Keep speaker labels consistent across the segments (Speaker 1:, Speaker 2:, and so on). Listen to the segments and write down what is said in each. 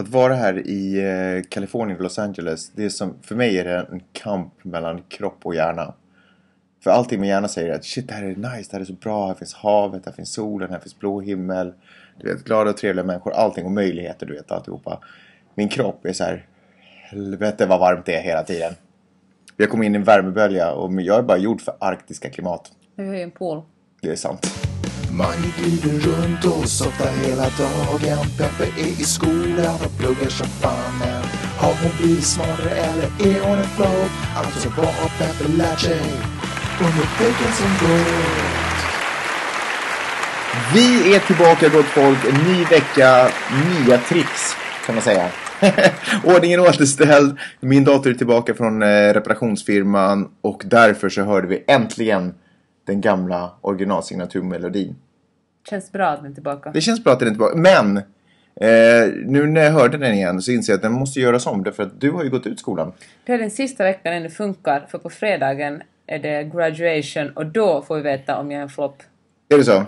Speaker 1: Att vara här i eh, Kalifornien, Los Angeles, det är som, för mig är det en kamp mellan kropp och hjärna. För allting min hjärna säger att shit, det här är nice, det här är så bra, här finns havet, här finns solen, här finns blå himmel. Du vet, glada och trevliga människor, allting och möjligheter, du vet, alltihopa. Min kropp är så här, helvete vad varmt det är hela tiden. Jag kommer in i en värmebölja och jag är bara gjord för arktiska klimat.
Speaker 2: Men vi har ju en pool.
Speaker 1: Det är sant.
Speaker 3: Man glider runt och softar hela dagen Peppe är i skolan och pluggar som fan men Har hon blivit smartare eller är hon en flow? Alltså vad har Peppe lärt sig under veckan som går?
Speaker 1: Vi är tillbaka gott folk, en ny vecka, nya tricks kan man säga. Ordningen återställd, min dator är tillbaka från eh, reparationsfirman och därför så hörde vi äntligen den gamla originalsignaturmelodin.
Speaker 2: Känns bra att den är tillbaka.
Speaker 1: Det känns bra att den är tillbaka, men eh, nu när jag hörde den igen så inser jag att den måste göras om därför att du har ju gått ut skolan.
Speaker 2: Det är den sista veckan ännu funkar, för på fredagen är det graduation och då får vi veta om jag är en flopp.
Speaker 1: Är det så?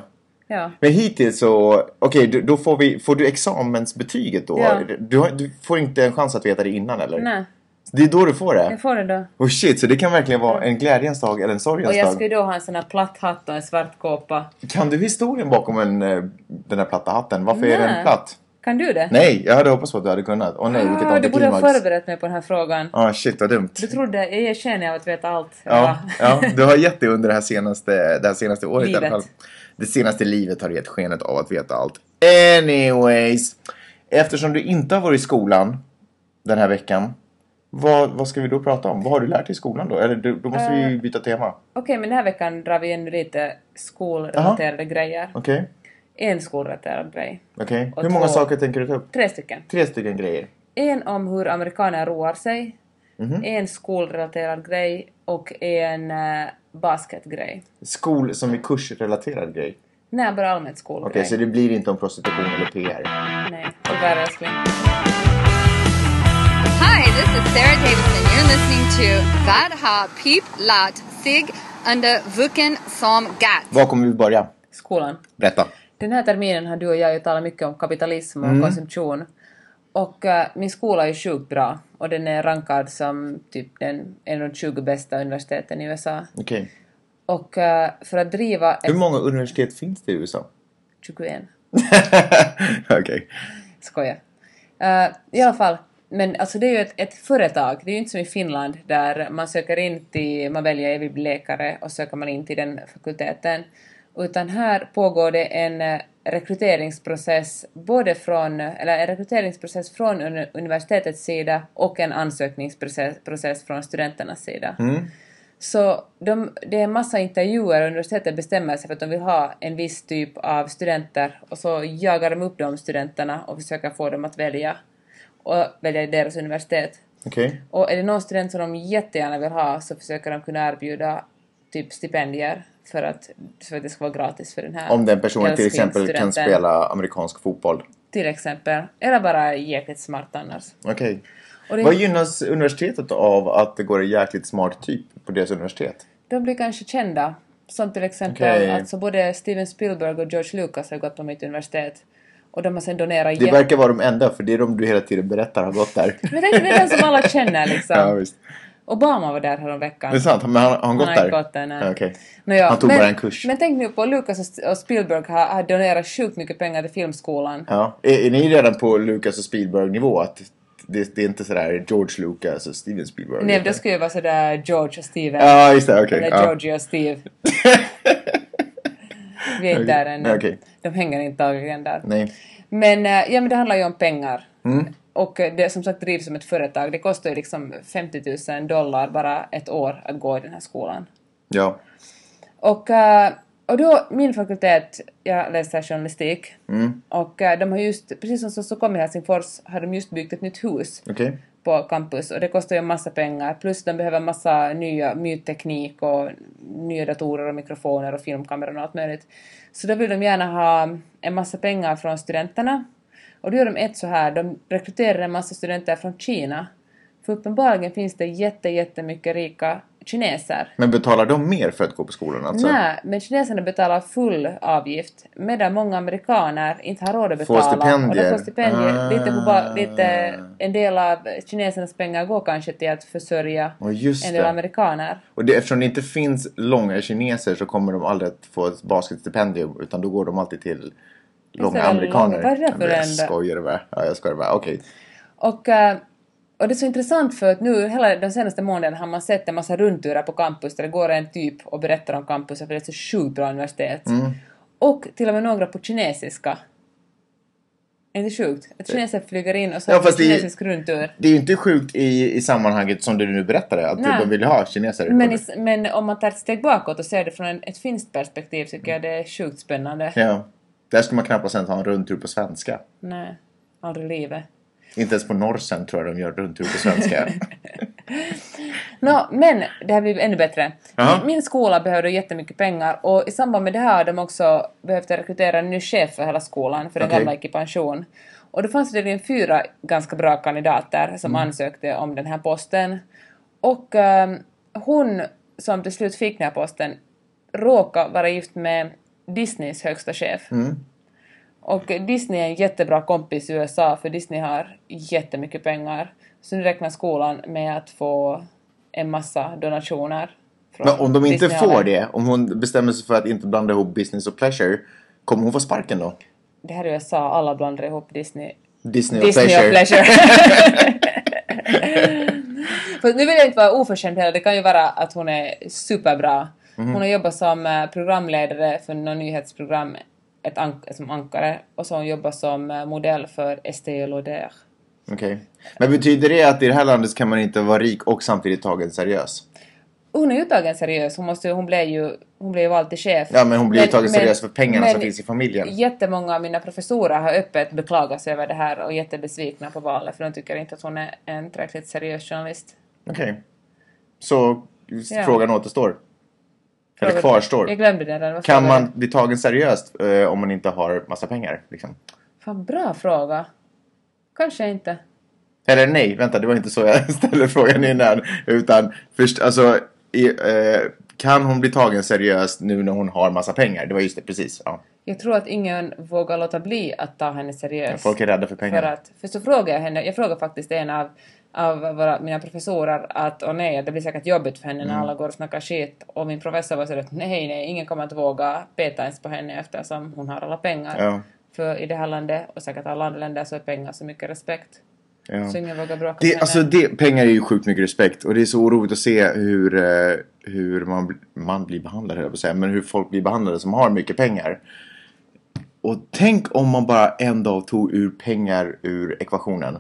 Speaker 2: Ja.
Speaker 1: Men hittills så, okej då- då får vi, får du examensbetyget då?
Speaker 2: Ja.
Speaker 1: Du, har, du får inte en chans att veta det innan eller?
Speaker 2: Nej,
Speaker 1: Det är då du får det?
Speaker 2: jag får det då.
Speaker 1: Oh shit, så det kan verkligen vara en glädjens dag eller en
Speaker 2: Och
Speaker 1: sorgens
Speaker 2: jag
Speaker 1: dag.
Speaker 2: ska ju då ha en sån här platt hatt och en svart kåpa.
Speaker 1: Kan du historien bakom en, eh, den här platta hatten? Varför är den
Speaker 2: Nej.
Speaker 1: platt?
Speaker 2: Kan du det?
Speaker 1: Nej, jag hade hoppats på att du hade kunnat. Åh nej, vilket
Speaker 2: ah, du borde ha
Speaker 1: antiklimax.
Speaker 2: förberett mig på den här frågan.
Speaker 1: Ja, ah, shit vad dumt.
Speaker 2: Du trodde, jag ger sken av att veta allt.
Speaker 1: Ja, ja, du har gett det under det här senaste, det här senaste året i alla
Speaker 2: Livet.
Speaker 1: fall. Det senaste livet har du gett skenet av att veta allt. Anyways, eftersom du inte har varit i skolan den här veckan. Vad, vad ska vi då prata om? Vad har du lärt dig i skolan då? Eller du, då måste
Speaker 2: Eh.
Speaker 1: vi ju byta tema.
Speaker 2: Okej, men den här veckan drar vi in lite skolrelaterade grejer.
Speaker 1: Okej,
Speaker 2: En skolrelaterad grej.
Speaker 1: okej.
Speaker 2: Och
Speaker 1: Hur många
Speaker 2: två.
Speaker 1: saker tänker du ta upp?
Speaker 2: Tre stycken.
Speaker 1: Tre stycken grejer.
Speaker 2: En om hur amerikaner roar sig.
Speaker 1: Mhm.
Speaker 2: En skolrelaterad grej och en eh, basketgrej.
Speaker 1: Skol som är kursrelaterad grej. Okej,
Speaker 2: Nej, bara allmänt skolgrej.
Speaker 1: så det blir inte om prostitution eller PR.
Speaker 2: Nej, tyvärr älskling.
Speaker 4: Hi, this is Sarah Davidson. You're listening to Vad har pip lat sig under vuken som gatt?
Speaker 1: Var kommer vi börja?
Speaker 2: Skolan.
Speaker 1: Berätta.
Speaker 2: Den här terminen har du och jag ju talat mycket om kapitalism och
Speaker 1: Mhm.
Speaker 2: konsumtion. Och eh, min skola är ju sjukt bra och den är rankad som typ den en av de 20 bästa universiteten i USA.
Speaker 1: Okej.
Speaker 2: Och eh, för att driva ett...
Speaker 1: Hur många universitet finns det i USA?
Speaker 2: 21.
Speaker 1: Okej.
Speaker 2: Skoja. Eh, I alla fall, men alltså det är ju ett, ett företag. Det är ju inte som i Finland där man söker in till, man väljer jag vill bli läkare och söker man in till den fakulteten. Utan här pågår det en eh, rekryteringsprocess både från, eller en rekryteringsprocess från uni- universitetets sida och en ansökningsprocess process från studenternas sida.
Speaker 1: Mm,
Speaker 2: Så de, det är en massa intervjuer och universitetet bestämmer sig för att de vill ha en viss typ av studenter och så jagar de upp de studenterna och försöker få dem att välja och välja deras universitet.
Speaker 1: Okej.
Speaker 2: Och är det någon student som de jättegärna vill ha så försöker de kunna erbjuda typ stipendier för att, för att det ska vara gratis för den här
Speaker 1: Om den personen till exempel kan
Speaker 2: älsklingsstudenten.
Speaker 1: spela amerikansk fotboll.
Speaker 2: Till exempel. Eller bara är jäkligt smart annars.
Speaker 1: Okej.
Speaker 2: Och det-
Speaker 1: Vad gynnas universitetet av att det går en jäkligt smart typ på deras universitet?
Speaker 2: De blir kanske kända. Som till exempel
Speaker 1: Okej.
Speaker 2: alltså både Steven Spielberg och George Lucas har gått på mitt universitet. Och de har sen donerat
Speaker 1: Det
Speaker 2: jätte-
Speaker 1: verkar vara de enda, för det är de du hela tiden berättar har gått där.
Speaker 2: Men det är det är den som alla känner liksom.
Speaker 1: ja, visst.
Speaker 2: Obama var där
Speaker 1: Det är
Speaker 2: häromveckan.
Speaker 1: sant, men han, har han gått
Speaker 2: Han har
Speaker 1: där?
Speaker 2: inte gått där, nej.
Speaker 1: Ja, okej.
Speaker 2: Nåja,
Speaker 1: Han tog
Speaker 2: men,
Speaker 1: bara en kurs.
Speaker 2: Men tänk nu på Lucas och S- och Spielberg har, har donerat sjukt mycket pengar till filmskolan.
Speaker 1: Ja. Är, är ni redan på Lucas och Spielberg-nivå? Att det, det är inte sådär George Lucas och Steven Spielberg?
Speaker 2: Nej, då skulle jag vara sådär George och Steven.
Speaker 1: Ja, just det. Okej.
Speaker 2: Eller
Speaker 1: ja.
Speaker 2: Georgie och Steve. Vi är inte där ännu.
Speaker 1: Okej. Okej.
Speaker 2: De hänger inte dagligen där.
Speaker 1: Nej.
Speaker 2: Men, eh, ja, men det handlar ju om pengar. Och eh, det som sagt drivs som ett företag. Det kostar ju liksom 50 000 dollar bara ett år att gå i den här skolan.
Speaker 1: Ja.
Speaker 2: Och, eh, och då, min fakultet, jag läser journalistik, och eh, de har just, precis som Stockholm i Helsingfors, har de just byggt ett nytt hus
Speaker 1: Okej.
Speaker 2: på campus och det kostar ju en massa pengar plus de behöver massa nya, ny teknik och nya datorer och mikrofoner och filmkameror och allt möjligt. Så då vill de gärna ha en massa pengar från studenterna och då gör de ett så här, de rekryterar en massa studenter från Kina för uppenbarligen finns det jätte, jättemycket rika kineser.
Speaker 1: Men betalar de mer för att gå på skolan alltså?
Speaker 2: Nej, men kineserna betalar full avgift medan många amerikaner inte har råd att
Speaker 1: Får
Speaker 2: betala. Och de
Speaker 1: stipendier.
Speaker 2: får stipendier. Lite, på bara,
Speaker 1: Ah.
Speaker 2: lite, en del av kinesernas pengar går kanske till att försörja
Speaker 1: Ja, just
Speaker 2: en del
Speaker 1: det.
Speaker 2: amerikaner.
Speaker 1: Och det, eftersom det inte finns långa kineser så kommer de aldrig att få ett basketstipendium utan då går de alltid till långa
Speaker 2: det väl
Speaker 1: amerikaner.
Speaker 2: långa- vad är det
Speaker 1: Ja, men jag
Speaker 2: för en-
Speaker 1: skojar bara. Ja, jag skojar bara. Okej.
Speaker 2: Och, eh, och det är så intressant för att nu hela de senaste månaderna har man sett en massa rundturer på campus där det går en typ och berättar om campusen för det är ett så sjukt bra universitet.
Speaker 1: Mm.
Speaker 2: Och till och med några på kinesiska. Är det sjukt? Att kineser flyger in och så
Speaker 1: Ja,
Speaker 2: har de
Speaker 1: fast det-
Speaker 2: kinesisk rundtur.
Speaker 1: Det är ju inte sjukt i, i sammanhanget som du nu berättade att
Speaker 2: Nej.
Speaker 1: de vill ha kineser.
Speaker 2: Men, i, men om man tar ett steg bakåt och ser det från en, ett finskt perspektiv tycker jag det är sjukt spännande.
Speaker 1: Ja. Där skulle man knappast ens ha en rundtur på svenska.
Speaker 2: Nej, aldrig i livet.
Speaker 1: Inte ens på norsen tror jag de gör rundtur på svenska.
Speaker 2: Nå, men det här blir ännu bättre.
Speaker 1: Jaha.
Speaker 2: Min, min skola behövde jättemycket pengar och i samband med det här har de också behövt rekrytera en ny chef för hela skolan för den
Speaker 1: Okej.
Speaker 2: gamla gick i pension. Och då fanns det tydligen fyra ganska bra kandidater som
Speaker 1: Mm.
Speaker 2: ansökte om den här posten. Och ehm, hon som till slut fick den här posten råkar vara gift med Disneys högsta chef. Och Disney är en jättebra kompis i USA för Disney har jättemycket pengar. Så nu räknar skolan med att få en massa donationer. från
Speaker 1: Men om de inte
Speaker 2: Disneyhållet.
Speaker 1: får det, om hon bestämmer sig för att inte blanda ihop business och pleasure, kommer hon få sparken då?
Speaker 2: Det här är USA, alla blandar ihop Disney.
Speaker 1: Disney,
Speaker 2: Disney
Speaker 1: och pleasure.
Speaker 2: och pleasure. För nu vill jag inte vara oförskämd heller, det kan ju vara att hon är superbra.
Speaker 1: Mhm.
Speaker 2: Hon har jobbat som eh, programledare för något nyhetsprogram ett ank- som ankare och så har hon jobbat som eh, modell för Estée Lauder.
Speaker 1: Okej. Men betyder det att i det här landet kan man inte vara rik och samtidigt tagen seriös?
Speaker 2: Hon är ju tagen seriös, hon, måste, ju- hon blev ju hon blev ju vald till chef.
Speaker 1: Ja, men hon blir ju tagen
Speaker 2: men-
Speaker 1: seriös för pengarna som
Speaker 2: men
Speaker 1: finns i familjen.
Speaker 2: Jättemånga av mina professorer har öppet beklagat sig över det här och är jättebesvikna på valet för de tycker inte att hon är en tillräckligt seriös journalist.
Speaker 1: Okej. Så
Speaker 2: Ja.
Speaker 1: frågan återstår. Eller
Speaker 2: Frågan- Jag
Speaker 1: kvarstår.
Speaker 2: glömde den redan. vad
Speaker 1: Kan
Speaker 2: frågan
Speaker 1: man bli tagen seriöst eh, om man inte har massa pengar? Liksom?
Speaker 2: är. Fan, bra fråga. Kanske inte.
Speaker 1: Eller nej, vänta, det var inte så jag ställde frågan innan. Utan först, alltså, i, eh, kan hon bli tagen seriöst nu när hon har massa pengar? Det var just det, precis. Ja.
Speaker 2: Jag tror att ingen vågar låta bli att ta henne seriöst.
Speaker 1: Folk är rädda för pengarna.
Speaker 2: För, att, för så frågar jag henne, jag frågar faktiskt en av, av våra, mina professorer att åh nej, det blir säkert jobbigt för henne
Speaker 1: Mm.
Speaker 2: när alla går och snackar skit. Och min professor var sådär att nej, nej, ingen kommer att våga peta ens på henne eftersom hon har alla pengar.
Speaker 1: Ja.
Speaker 2: För i det här landet, och säkert alla andra länder, så är pengar så mycket respekt.
Speaker 1: Ja.
Speaker 2: Så ingen vågar bråka med
Speaker 1: Det,
Speaker 2: henne.
Speaker 1: alltså det, pengar är ju sjukt mycket respekt och det är så roligt att se hur, eh, hur man, bl- man blir behandlad, höll jag på att säga, men hur folk blir behandlade som har mycket pengar. Och tänk om man bara en dag tog ur pengar ur ekvationen.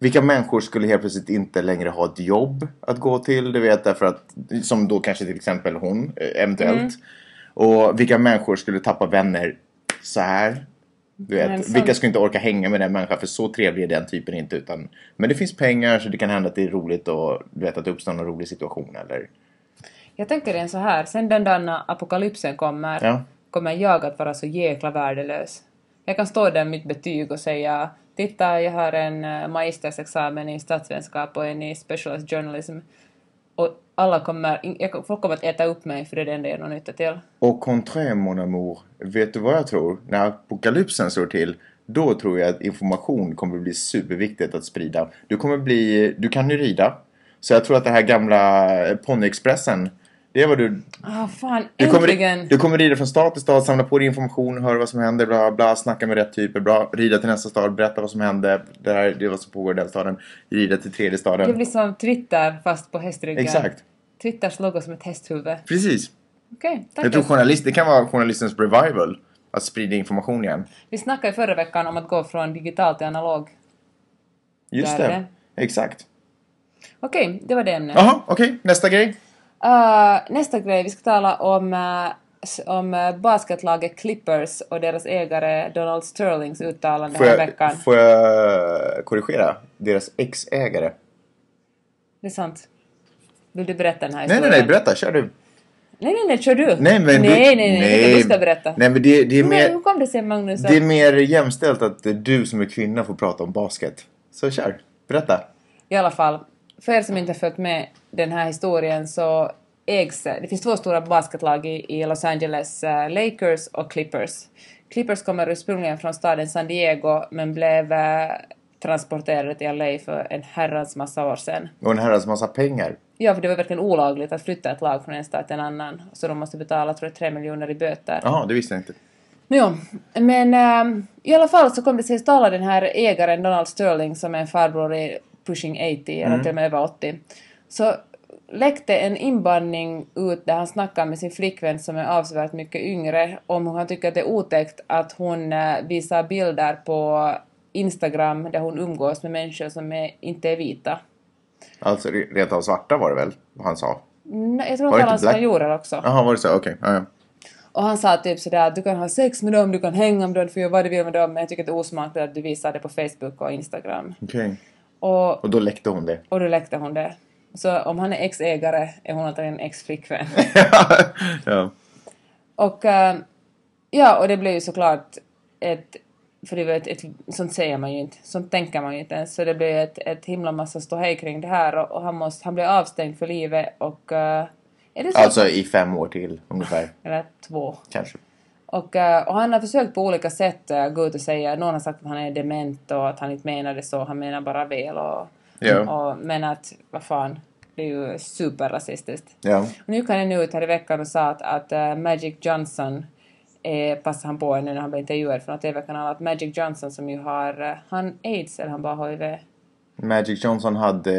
Speaker 1: Vilka människor skulle helt plötsligt inte längre ha ett jobb att gå till, du vet, därför att, som då kanske till exempel hon, eh, eventuellt. Och vilka människor skulle tappa vänner så här? Du
Speaker 2: Men
Speaker 1: vet,
Speaker 2: sant.
Speaker 1: vilka skulle inte orka hänga med den människan för så trevlig är den typen inte utan Men det finns pengar så det kan hända att det är roligt och du vet att det uppstår någon rolig situation eller
Speaker 2: Jag tänker en så här, sen den dagen när apokalypsen kommer,
Speaker 1: Ja.
Speaker 2: kommer jag att vara så jäkla värdelös. Jag kan stå där med mitt betyg och säga Titta, jag har en eh, magistersexamen i statsvetenskap och en i specialist journalism. Och alla kommer, in- jag- folk kommer att äta upp mig för det är det enda jag har någon nytta till.
Speaker 1: Och contraire mon amour, vet du vad jag tror? När apokalypsen slår till då tror jag att information kommer bli superviktigt att sprida. Du kommer bli, du kan ju rida. Så jag tror att det här gamla ponnyexpressen det är vad du...
Speaker 2: Ah, fan,
Speaker 1: Du
Speaker 2: äntligen!
Speaker 1: kommer, du kommer rida från stad till stad, samla på dig information, höra vad som händer, bla bla, snacka med rätt typer, bra, rida till nästa stad, berätta vad som hände, det här det är vad som pågår i den staden, rida till tredje
Speaker 2: Det
Speaker 1: staden.
Speaker 2: blir som Twitter fast på hästryggen.
Speaker 1: Exakt,
Speaker 2: Twitters logga som ett hästhuvud.
Speaker 1: precis.
Speaker 2: Okej, tack.
Speaker 1: Jag tror journalist, det kan vara journalistens revival, att sprida information igen.
Speaker 2: Vi snackade förra veckan om att gå från digital till analog.
Speaker 1: Just
Speaker 2: Där är
Speaker 1: det. Exakt.
Speaker 2: Okej, det var det ämnet.
Speaker 1: Jaha, okej, nästa grej.
Speaker 2: Uh, nästa grej, vi ska tala om, eh, s- om eh, basketlaget Clippers och deras ägare Donald Sterlings uttalande
Speaker 1: Får
Speaker 2: här veckan.
Speaker 1: jag, får jag korrigera? Deras ex-ägare.
Speaker 2: Det är sant. Vill du berätta den här
Speaker 1: Nej, nej,
Speaker 2: historien?
Speaker 1: nej, berätta, kör du.
Speaker 2: Nej, nej, nej, kör du!
Speaker 1: Nej, men
Speaker 2: nej,
Speaker 1: du,
Speaker 2: nej, nej, jag tycker du ska berätta.
Speaker 1: Nej, men det, det är
Speaker 2: Men
Speaker 1: mer...
Speaker 2: Hur kom det sig, Magnus?
Speaker 1: Det är mer jämställt att du som är kvinna får prata om basket. Så kör, berätta.
Speaker 2: I alla fall, för er som inte har följt med den här historien så ägs, det finns två stora basketlag i, i Los Angeles, eh, Lakers och Clippers. Clippers kommer ursprungligen från staden San Diego men blev eh, transporterade till LA för en herrans massa år sedan.
Speaker 1: Och en herrans massa pengar.
Speaker 2: Ja, för det var verkligen olagligt att flytta ett lag från en stad till en annan, så de måste betala, tror jag, tre miljoner i böter.
Speaker 1: Jaha, det visste jag inte.
Speaker 2: Jo, men ehm, i alla fall så kom det sig tala den här ägaren Donald Sterling som är en farbror i pushing 80
Speaker 1: Mm.
Speaker 2: eller till och med över 80. Så läckte en inbandning ut där han snackar med sin flickvän som är avsevärt mycket yngre om hur han tycker att det är otäckt att hon eh, visar bilder på Instagram där hon umgås med människor som är, inte är vita.
Speaker 1: Alltså re- rent av svarta var det väl, vad han sa?
Speaker 2: Mm, Jag tror
Speaker 1: Var det
Speaker 2: att alla
Speaker 1: inte Black-
Speaker 2: spanjorer också.
Speaker 1: Jaha, var det så? Okej. ja, ja.
Speaker 2: Och han sa typ sådär att du kan ha sex med dem, du kan hänga med dem, du får göra vad du vill med dem men jag tycker att det är osmakligt att du visar det på Facebook och Instagram.
Speaker 1: Okej.
Speaker 2: Och,
Speaker 1: Och då läckte hon det.
Speaker 2: och då läckte hon det. Så om han är ex-ägare är hon antagligen ex-flickvän.
Speaker 1: ja.
Speaker 2: och eh, ja, och det blev ju såklart ett... För det var ett, ett, sånt säger man ju inte, sånt tänker man ju inte ens. Så det blev ett, ett himla massa ståhej kring det här och, och han, måste, han blev avstängd för livet och... eh, är det så?
Speaker 1: Alltså i fem år till ungefär,
Speaker 2: Eller två.
Speaker 1: kanske.
Speaker 2: Och, eh, och han har försökt på olika sätt eh, gå ut och säga, någon har sagt att han är dement och att han inte menade så, han menar bara väl och...
Speaker 1: Ja.
Speaker 2: och men att, vad fan, det är ju superrasistiskt.
Speaker 1: Ja.
Speaker 2: Och nu gick han ännu ut här i veckan och sa att, att eh, Magic Johnson, eh, passade han på nu när han blev intervjuad för någon TV-kanal, att Magic Johnson som ju har, eh, han aids eller han bara HIV?
Speaker 1: Magic Johnson hade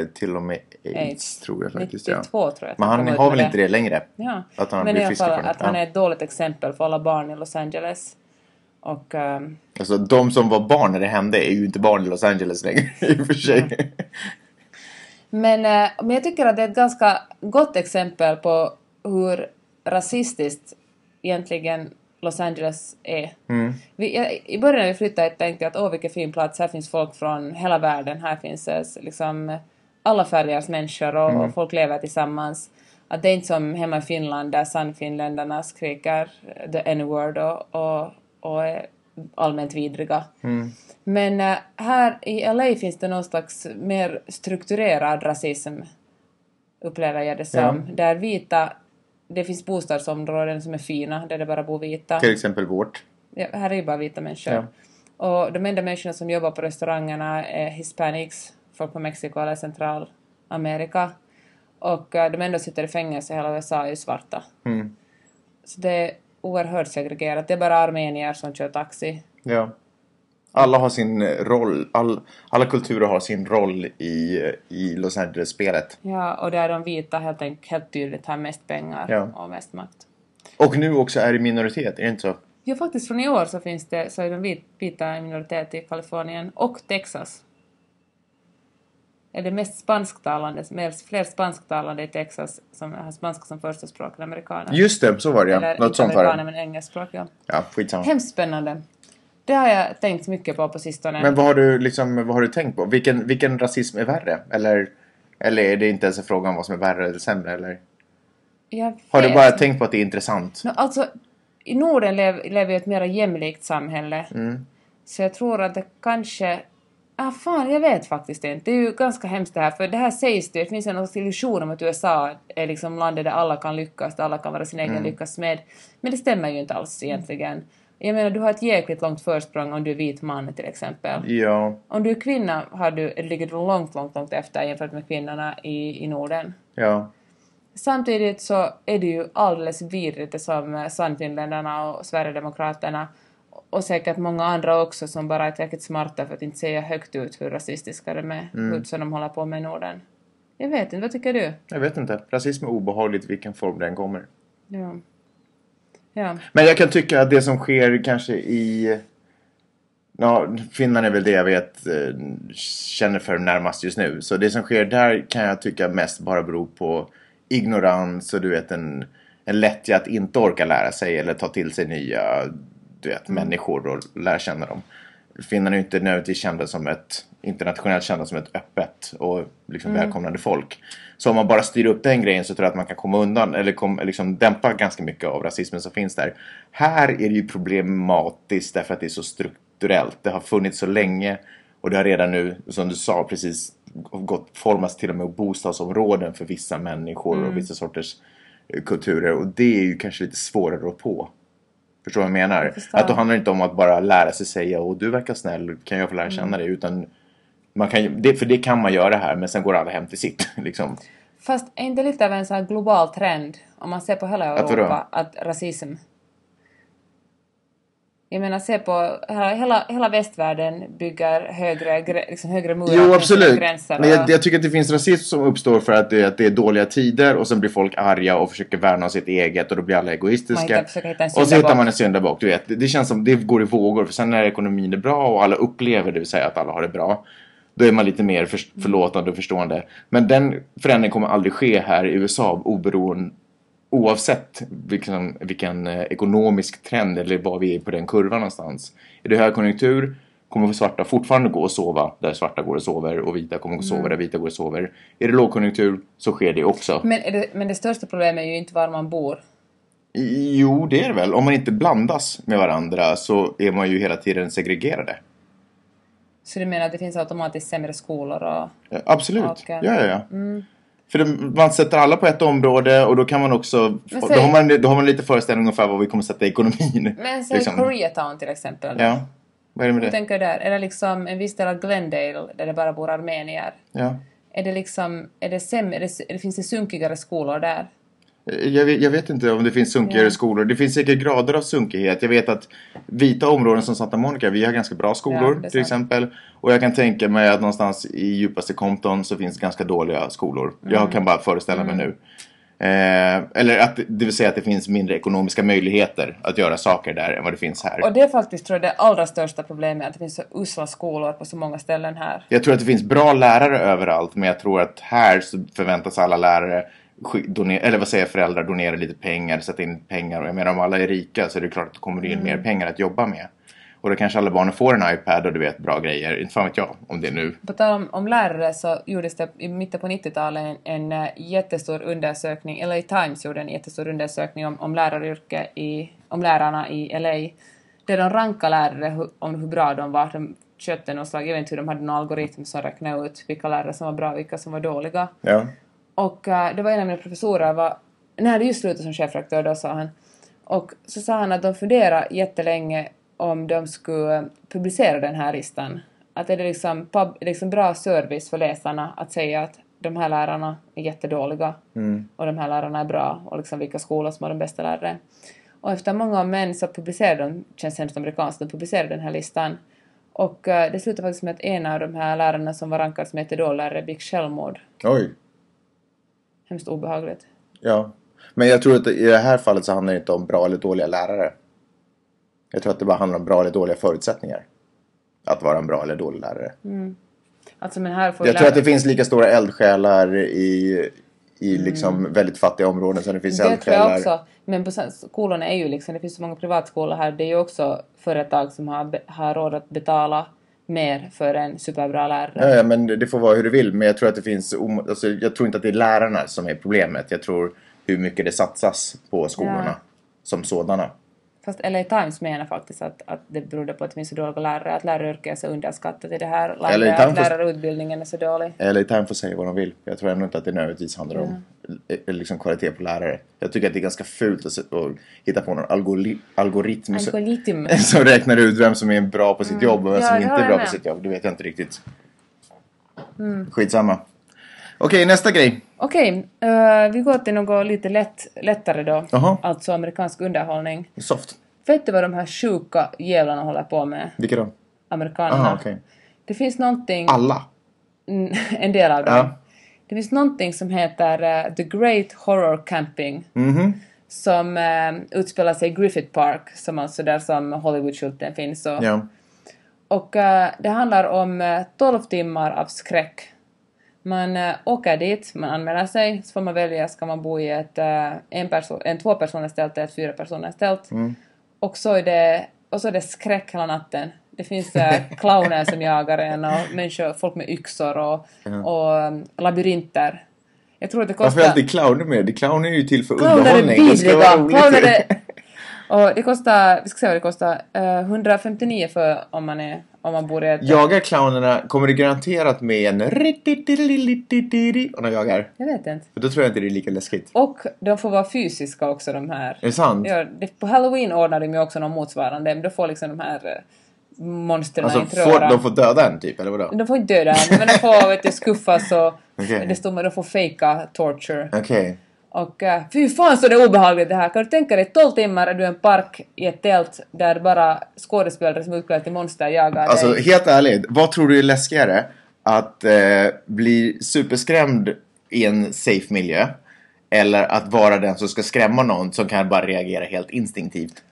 Speaker 1: eh, till och med AIDS, tror jag faktiskt. Ja.
Speaker 2: 92 tror jag att
Speaker 1: Men han
Speaker 2: kom ut
Speaker 1: har
Speaker 2: med
Speaker 1: väl inte det längre?
Speaker 2: Ja.
Speaker 1: Att han
Speaker 2: men i
Speaker 1: blir
Speaker 2: alla
Speaker 1: frisk
Speaker 2: fall
Speaker 1: från det,
Speaker 2: att han
Speaker 1: ja.
Speaker 2: är ett dåligt exempel för alla barn i Los Angeles. Och ehm,
Speaker 1: Alltså de som var barn när det hände är ju inte barn i Los Angeles längre i och för sig.
Speaker 2: Men, eh, men jag tycker att det är ett ganska gott exempel på hur rasistiskt egentligen Los Angeles är. Vi, jag, I början när vi flyttade hit tänkte jag att åh vilken fin plats, här finns folk från hela världen, här finns eh, liksom alla färgers människor och, och folk lever tillsammans. Att det är inte som hemma i Finland där sannfinländarna skriker eh, the n-word och, och, och är allmänt vidriga. Men eh, här i LA finns det någon slags mer strukturerad rasism, upplever jag det som. Där vita, det finns bostadsområden som är fina, där det bara bor vita.
Speaker 1: till exempel vårt.
Speaker 2: Ja, här är ju bara vita människor. Och de enda människorna som jobbar på restaurangerna är hispanics, folk från Mexiko eller Centralamerika. Och eh, de enda som sitter i fängelse i hela USA är ju svarta.
Speaker 1: Mm.
Speaker 2: Så det är oerhört segregerat. Det är bara armenier som kör taxi.
Speaker 1: Ja. Alla har sin eh, roll, all, alla kulturer har sin roll i, eh, i Los Angeles-spelet.
Speaker 2: Ja, och där de vita helt enkelt helt tydligt har mest pengar
Speaker 1: Ja.
Speaker 2: och mest makt.
Speaker 1: Och nu också är det minoritet, är det inte så?
Speaker 2: Ja, faktiskt från i år så finns det, så är de vit- vita en minoritet i Kalifornien och Texas. Är det mest spansktalande, mer, fler spansktalande i Texas som har spanska som första språk än amerikaner?
Speaker 1: Just det, så var det ja.
Speaker 2: Eller
Speaker 1: Något
Speaker 2: inte
Speaker 1: sånt var
Speaker 2: amerikaner
Speaker 1: det.
Speaker 2: men engelskspråkiga.
Speaker 1: Ja, skitsamma.
Speaker 2: Hemskt spännande. Det har jag tänkt mycket på på sistone.
Speaker 1: Men vad har du, liksom, vad har du tänkt på? Vilken, vilken rasism är värre? Eller, eller är det inte ens en fråga om vad som är värre eller sämre? Eller?
Speaker 2: Jag
Speaker 1: Har du
Speaker 2: vet
Speaker 1: bara tänkt på att det är intressant?
Speaker 2: No, alltså, i Norden lev, lever vi i ett mer jämlikt samhälle. Så jag tror att det kanske... Ah, fan, jag vet faktiskt inte. Det är ju ganska hemskt det här, för det här sägs det, det finns en slags illusion om att USA är liksom landet där alla kan lyckas, där alla kan vara sin egen lyckas med. Men det stämmer ju inte alls egentligen. Jag menar, du har ett jäkligt långt försprång om du är vit man till exempel.
Speaker 1: Ja,
Speaker 2: Om du är kvinna har du, ligger du långt, långt, långt efter jämfört med kvinnorna i, i Norden.
Speaker 1: ja.
Speaker 2: Samtidigt så är det ju alldeles vidrigt det som eh, Sannfinländarna och Sverigedemokraterna och säkert många andra också som bara är tillräckligt smarta för att inte säga högt ut hur rasistiska de är,
Speaker 1: Mm.
Speaker 2: hur som de håller på med i Norden. Jag vet inte, vad tycker du?
Speaker 1: Jag vet inte. Rasism är obehagligt i vilken form den kommer.
Speaker 2: Ja. Ja.
Speaker 1: Men jag kan tycka att det som sker kanske i... Ja, Finland är väl det jag vet eh, känner för närmast just nu. Så det som sker där kan jag tycka mest bara beror på ignorans och du vet en, en lättja att inte orka lära sig eller ta till sig nya du vet, människor och lära känna dem. Finland är ju inte nödvändigtvis kända som ett internationellt kända som ett öppet och liksom välkomnande folk. Så om man bara styr upp den grejen så tror jag att man kan komma undan eller kom, liksom dämpa ganska mycket av rasismen som finns där. Här är det ju problematiskt därför att det är så strukturellt. Det har funnits så länge och det har redan nu, som du sa precis, gått, formas till och med bostadsområden för vissa människor och vissa sorters eh, kulturer. Och det är ju kanske lite svårare att rå på. Förstår du vad jag menar?
Speaker 2: förstår.
Speaker 1: att då handlar det inte om att bara lära sig säga och du verkar snäll, kan jag få lära känna
Speaker 2: Mm.
Speaker 1: dig? Utan man kan, ju- det, för det kan man göra här men sen går alla hem till sitt. Liksom.
Speaker 2: Fast är inte lite av en sån här global trend om man ser på hela
Speaker 1: Att vadå?
Speaker 2: Europa att rasism... Jag menar se på hela, hela, hela västvärlden bygger högre, grä- liksom högre murar
Speaker 1: Jo
Speaker 2: högre
Speaker 1: absolut.
Speaker 2: gränser.
Speaker 1: Men
Speaker 2: och-
Speaker 1: jag, jag tycker att det finns rasism som uppstår för att det, att det är dåliga tider och sen blir folk arga och försöker värna om sitt eget och då blir alla
Speaker 2: Man
Speaker 1: egoistiska.
Speaker 2: hittar- försöker hitta en
Speaker 1: och så hittar
Speaker 2: syndabock.
Speaker 1: man en syndabock. Du vet, det, det känns som det går i vågor. För sen när ekonomin är bra och alla upplever det vill säga att alla har det bra. Då är man lite mer för, förlåtande och förstående. Men den förändringen kommer aldrig ske här i USA oberoende oavsett vilken, vilken eh, ekonomisk trend eller var vi är på den kurvan någonstans. Är det högkonjunktur kommer svarta fortfarande gå och sova där svarta går och sover och vita kommer gå och sova där vita går och sover. Är det lågkonjunktur så sker det också.
Speaker 2: Men, är det, men det största problemet är ju inte var man bor.
Speaker 1: I- Jo, det är det väl. Om man inte blandas med varandra så är man ju hela tiden segregerade.
Speaker 2: Så du menar att det finns automatiskt sämre skolor och... Mm.
Speaker 1: Eh, Absolut.
Speaker 2: Okej.
Speaker 1: Ja, ja, ja. För det, man sätter alla på ett område och då kan man också...
Speaker 2: Men
Speaker 1: Då
Speaker 2: säg-
Speaker 1: har man, då har man lite föreställning ungefär vad vi kommer sätta i ekonomin.
Speaker 2: Men säg
Speaker 1: liksom.
Speaker 2: Koreatown till exempel.
Speaker 1: Ja. Vad är det med
Speaker 2: Hur
Speaker 1: det?
Speaker 2: tänker du där? Är det liksom en viss del av Glendale där det bara bor armenier?
Speaker 1: Ja.
Speaker 2: Är det liksom... Är det sämre? Är det, är det, finns det sunkigare skolor där?
Speaker 1: Jag vet, jag vet inte om det finns sunkigare
Speaker 2: Ja.
Speaker 1: skolor. Det finns säkert grader av sunkighet. Jag vet att vita områden som Santa Monica, vi har ganska bra
Speaker 2: Ja,
Speaker 1: skolor
Speaker 2: det
Speaker 1: till
Speaker 2: är sant.
Speaker 1: exempel. Och jag kan tänka mig att någonstans i djupaste Compton så finns ganska dåliga skolor.
Speaker 2: Mm.
Speaker 1: Jag kan bara föreställa mig nu. Eh, eller att det vill säga att det finns mindre ekonomiska möjligheter att göra saker där än vad det finns här.
Speaker 2: Och det är faktiskt tror jag det allra största problemet, att det finns så usla skolor på så många ställen här.
Speaker 1: Jag tror att det finns bra lärare överallt men jag tror att här så förväntas alla lärare sk- donera, eller vad säger jag, föräldrar donera lite pengar, sätta in pengar och jag menar om alla är rika så är det klart att det kommer in mer pengar att jobba med. Och då kanske alla barnen får en iPad och du vet bra grejer, inte fan vet jag om det är nu.
Speaker 2: På tal om, om lärare så gjordes det i mitten på 90-talet en, en eh, jättestor undersökning, LA Times gjorde en jättestor undersökning om, om läraryrket i, om lärarna i LA, där de rankade lärare hu, om hur bra de var. De köpte någon slags, jag vet inte hur de hade någon algoritm som räknade ut vilka lärare som var bra och vilka som var dåliga.
Speaker 1: Ja.
Speaker 2: Och eh, det var en av mina professorer var, när hade just slutat som chefredaktör då sa han. Och så sa han att de funderade jättelänge om de skulle publicera den här listan. Att är det liksom, pub, liksom bra service för läsarna att säga att de här lärarna är jättedåliga och de här lärarna är bra och liksom vilka skolor som har de bästa lärare. Och efter många om men så publicerade de, känns hemskt amerikanskt, de publicerade den här listan. Och eh, det slutade faktiskt med att en av de här lärarna som var rankad som jättedålig lärare begick självmord.
Speaker 1: Oj.
Speaker 2: Hemskt obehagligt.
Speaker 1: Ja. Men jag tror att i det här fallet så handlar det inte om bra eller dåliga lärare. Jag tror att det bara handlar om bra eller dåliga förutsättningar. Att vara en bra eller dålig lärare.
Speaker 2: Alltså men här får
Speaker 1: Jag
Speaker 2: lä-
Speaker 1: tror att det finns lika stora eldsjälar i, i liksom väldigt fattiga områden som det finns
Speaker 2: Mm. det tror jag
Speaker 1: eldsjälar.
Speaker 2: också. Men på sen- skolorna är ju liksom, det finns så många privatskolor här, det är ju också företag som har, be- har råd att betala mer för en superbra lärare.
Speaker 1: Ja, ja, men det får vara hur du vill. Men jag tror att det finns... om- Alltså, jag tror inte att det är lärarna som är problemet. Jag tror hur mycket det satsas på skolorna
Speaker 2: Ja.
Speaker 1: som sådana.
Speaker 2: Fast LA Times menar faktiskt att, att det berodde på att det finns så dåliga lärare, att läraryrket är så underskattat i det här landet,
Speaker 1: Times
Speaker 2: att
Speaker 1: får-
Speaker 2: lärarutbildningen är så dålig.
Speaker 1: Eller Time får säga vad de vill. Jag tror ändå inte att det nödvändigtvis handlar om eh, liksom, kvalitet på lärare. Jag tycker att det är ganska fult att, se- att hitta på någon algori- algoritm som-
Speaker 2: Algoritm.
Speaker 1: som räknar ut vem som är bra på sitt jobb och vem
Speaker 2: Ja,
Speaker 1: som
Speaker 2: det
Speaker 1: inte
Speaker 2: har
Speaker 1: är
Speaker 2: jag
Speaker 1: bra på
Speaker 2: med.
Speaker 1: sitt jobb. Det vet jag inte riktigt. Skitsamma. Okej, nästa grej.
Speaker 2: Okej, eh, vi går till något lite lätt, lättare då.
Speaker 1: Jaha.
Speaker 2: Alltså amerikansk underhållning.
Speaker 1: Soft.
Speaker 2: Vet du vad de här sjuka jävlarna håller på med?
Speaker 1: Vilka då?
Speaker 2: Amerikanerna.
Speaker 1: Aha, okej.
Speaker 2: Det finns någonting...
Speaker 1: Alla.
Speaker 2: Mm, en del av dem.
Speaker 1: Ja.
Speaker 2: Det finns någonting som heter eh, The Great Horror Camping
Speaker 1: Mhm.
Speaker 2: som uh, utspelar sig i Griffith Park, som alltså där som Hollywoodskylten finns. Och,
Speaker 1: Ja.
Speaker 2: och eh, det handlar om eh, 12 timmar av skräck. Man eh, åker dit, man anmäler sig, så får man välja, ska man bo i ett eh, en, perso- en tvåpersoners tält eller ett fyrapersoners tält.
Speaker 1: Mm.
Speaker 2: Och, så är det, och så är det skräck hela natten. Det finns eh, clowner som jagar en och människor, folk med yxor och, och um, labyrinter. Jag tror att det kostar...
Speaker 1: Varför är alltid clowner med? Det clowner är ju till för
Speaker 2: Clowner är
Speaker 1: underhållning. Det ska
Speaker 2: vidriga!
Speaker 1: vara roligt.
Speaker 2: Clowner är... Och det kostar, vi ska se vad det kostar, eh, 159 för om man är om man bor i ett...
Speaker 1: Jagar clownerna kommer det garanterat med en och de jagar.
Speaker 2: Jag vet inte.
Speaker 1: För då tror jag inte det är lika läskigt.
Speaker 2: Och de får vara fysiska också de här.
Speaker 1: Är det sant?
Speaker 2: Ja, det, på halloween ordnar de ju också något motsvarande, men då får liksom de här eh, monstren
Speaker 1: Alltså,
Speaker 2: inte röra.
Speaker 1: får, de får döda en typ, eller vadå?
Speaker 2: De får inte döda en, men de får vet du, skuffas och
Speaker 1: Okej.
Speaker 2: det står med de får fejka torture.
Speaker 1: Okej.
Speaker 2: Och eh, fy fan så det är obehagligt det här. Kan du tänka dig 12 timmar är du i en park i ett tält där bara skådespelare som är utklädda till monster jagar
Speaker 1: Alltså,
Speaker 2: dig.
Speaker 1: helt ärligt. Vad tror du är läskigare? Att eh, bli superskrämd i en safe miljö? Eller att vara den som ska skrämma någon som kan bara reagera helt instinktivt?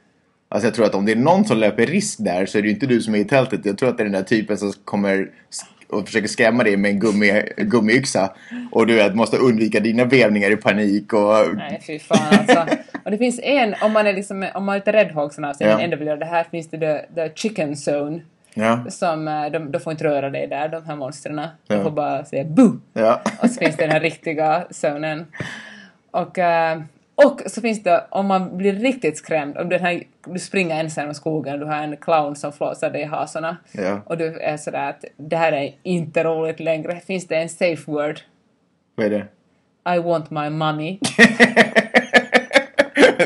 Speaker 1: Alltså jag tror att om det är någon som löper risk där så är det ju inte du som är i tältet. Jag tror att det är den där typen som kommer s- och försöker skrämma dig med en gummi, gummiyxa. Och du vet, måste undvika dina vevningar i panik och...
Speaker 2: Nej fy fan alltså. Och det finns en, om man är liksom, om man är lite räddhågsen av sig
Speaker 1: Ja.
Speaker 2: men ändå vill göra det här, finns det the, the chicken zone.
Speaker 1: Ja.
Speaker 2: Som, eh, de, de får inte röra dig där, de här monstren.
Speaker 1: Ja.
Speaker 2: De får bara säga boo!
Speaker 1: Ja.
Speaker 2: Och så finns det den här riktiga zonen. Och, eh, och så finns det, om man blir riktigt skrämd, om den här, du springer ensam i skogen, du har en clown som flåsar dig i hasorna
Speaker 1: Ja.
Speaker 2: och du är sådär att det här är inte roligt längre. Finns det en safe word?
Speaker 1: Vad är det?
Speaker 2: I want my money.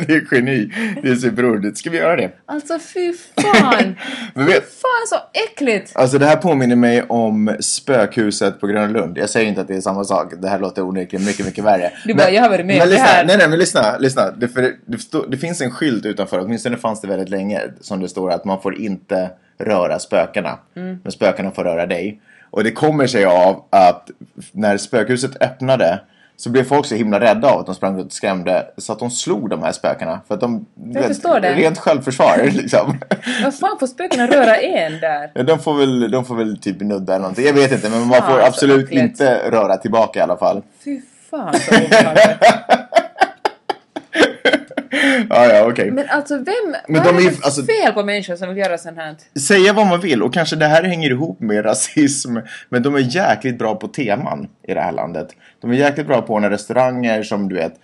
Speaker 1: det är geni. Det är superroligt. Ska vi göra det?
Speaker 2: Alltså fy fan!
Speaker 1: Men vet,
Speaker 2: fan så äckligt!
Speaker 1: Alltså det här påminner mig om spökhuset på Gröna Lund. Jag säger inte att det är samma sak. Det här låter onekligen mycket, mycket värre.
Speaker 2: Du bara, jag har varit med
Speaker 1: men
Speaker 2: om det
Speaker 1: lyssna,
Speaker 2: här.
Speaker 1: Nej, nej, men lyssna. lyssna. Det, för det, det, står- det finns en skylt utanför, åtminstone fanns det väldigt länge, som det står att man får inte röra spökena.
Speaker 2: Mm.
Speaker 1: Men spökena får röra dig. Och det kommer sig av att när spökhuset öppnade så blev folk så himla rädda av att de sprang runt och skrämde så att de slog de här spökena. För att de... vet,
Speaker 2: förstår det.
Speaker 1: Rent självförsvar liksom.
Speaker 2: Vad fan får spökena röra en där?
Speaker 1: Ja, de, får väl, de får väl typ nudda eller någonting. Jag vet inte, men man
Speaker 2: Fan,
Speaker 1: får
Speaker 2: så
Speaker 1: absolut
Speaker 2: äckligt.
Speaker 1: inte röra tillbaka i alla fall.
Speaker 2: Fy fan så obehagligt.
Speaker 1: Ja, ja, okej.
Speaker 2: Men alltså vem,
Speaker 1: Men de
Speaker 2: vad är
Speaker 1: är
Speaker 2: det
Speaker 1: ju-
Speaker 2: för
Speaker 1: alltså-
Speaker 2: fel på människor som vill göra sånt här?
Speaker 1: Säga vad man vill, och kanske det här hänger ihop med rasism, men de är jäkligt bra på teman i det här landet. De är jäkligt bra på när restauranger som du vet,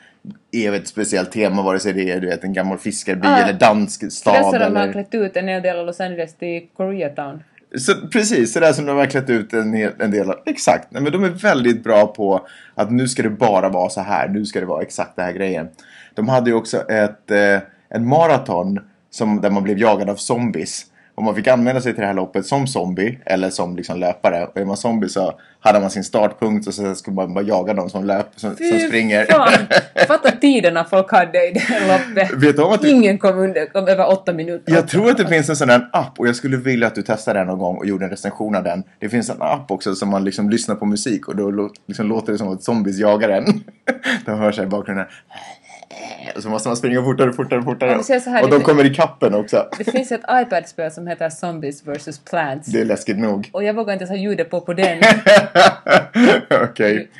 Speaker 1: är ett speciellt tema, vare sig det är du vet, en gammal fiskarby
Speaker 2: Ja.
Speaker 1: eller dansk stad.
Speaker 2: Dessutom har
Speaker 1: Eller...
Speaker 2: klätt ut en hel del av Los Angeles till Koreatown.
Speaker 1: Så, precis, det där som de har klätt ut en, hel- en del av. Exakt, Nej, men de är väldigt bra på att nu ska det bara vara så här, nu ska det vara exakt den här grejen. De hade ju också ett, eh, en maraton som, där man blev jagad av zombies. Och man fick använda sig till det här loppet som zombie eller som liksom löpare. Och är man zombie så hade man sin startpunkt och sen skulle man bara jaga dem som, löp, som, som springer.
Speaker 2: fan! Fatta tiderna folk hade i det här loppet.
Speaker 1: Vet du om att det-
Speaker 2: Ingen kom, under, kom över åtta minuter.
Speaker 1: Jag tror att det finns en sån här app och jag skulle vilja att du testar den någon gång och gjorde en recension av den. Det finns en app också som man liksom lyssnar på musik och då lå- liksom låter det som att zombies jagar en. De hör sig i bakgrunden. Och så måste man springa fortare, fortare,
Speaker 2: Ja,
Speaker 1: fortare.
Speaker 2: men se så här
Speaker 1: Och de
Speaker 2: lite-
Speaker 1: kommer i kappen också.
Speaker 2: Det finns ett iPad-spel som heter Zombies vs. Plants.
Speaker 1: Det är läskigt nog.
Speaker 2: Och jag vågar inte ens ha ljudet på på den.
Speaker 1: Okej.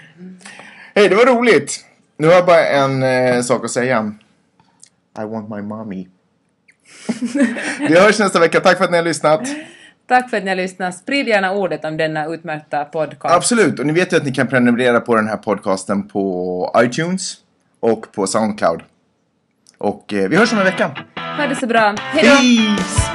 Speaker 1: Hej, det var roligt. Nu har jag bara en eh, sak att säga. I want my mommy. Vi hörs nästa vecka. Tack för att ni har lyssnat.
Speaker 2: Tack för att ni har lyssnat. Sprid gärna ordet om denna utmärkta podcast.
Speaker 1: Absolut, och ni vet ju att ni kan prenumerera på den här podcasten på iTunes och på Soundcloud. Och eh, vi hörs om en vecka.
Speaker 2: Ha det så bra. Hej då!
Speaker 1: Peace!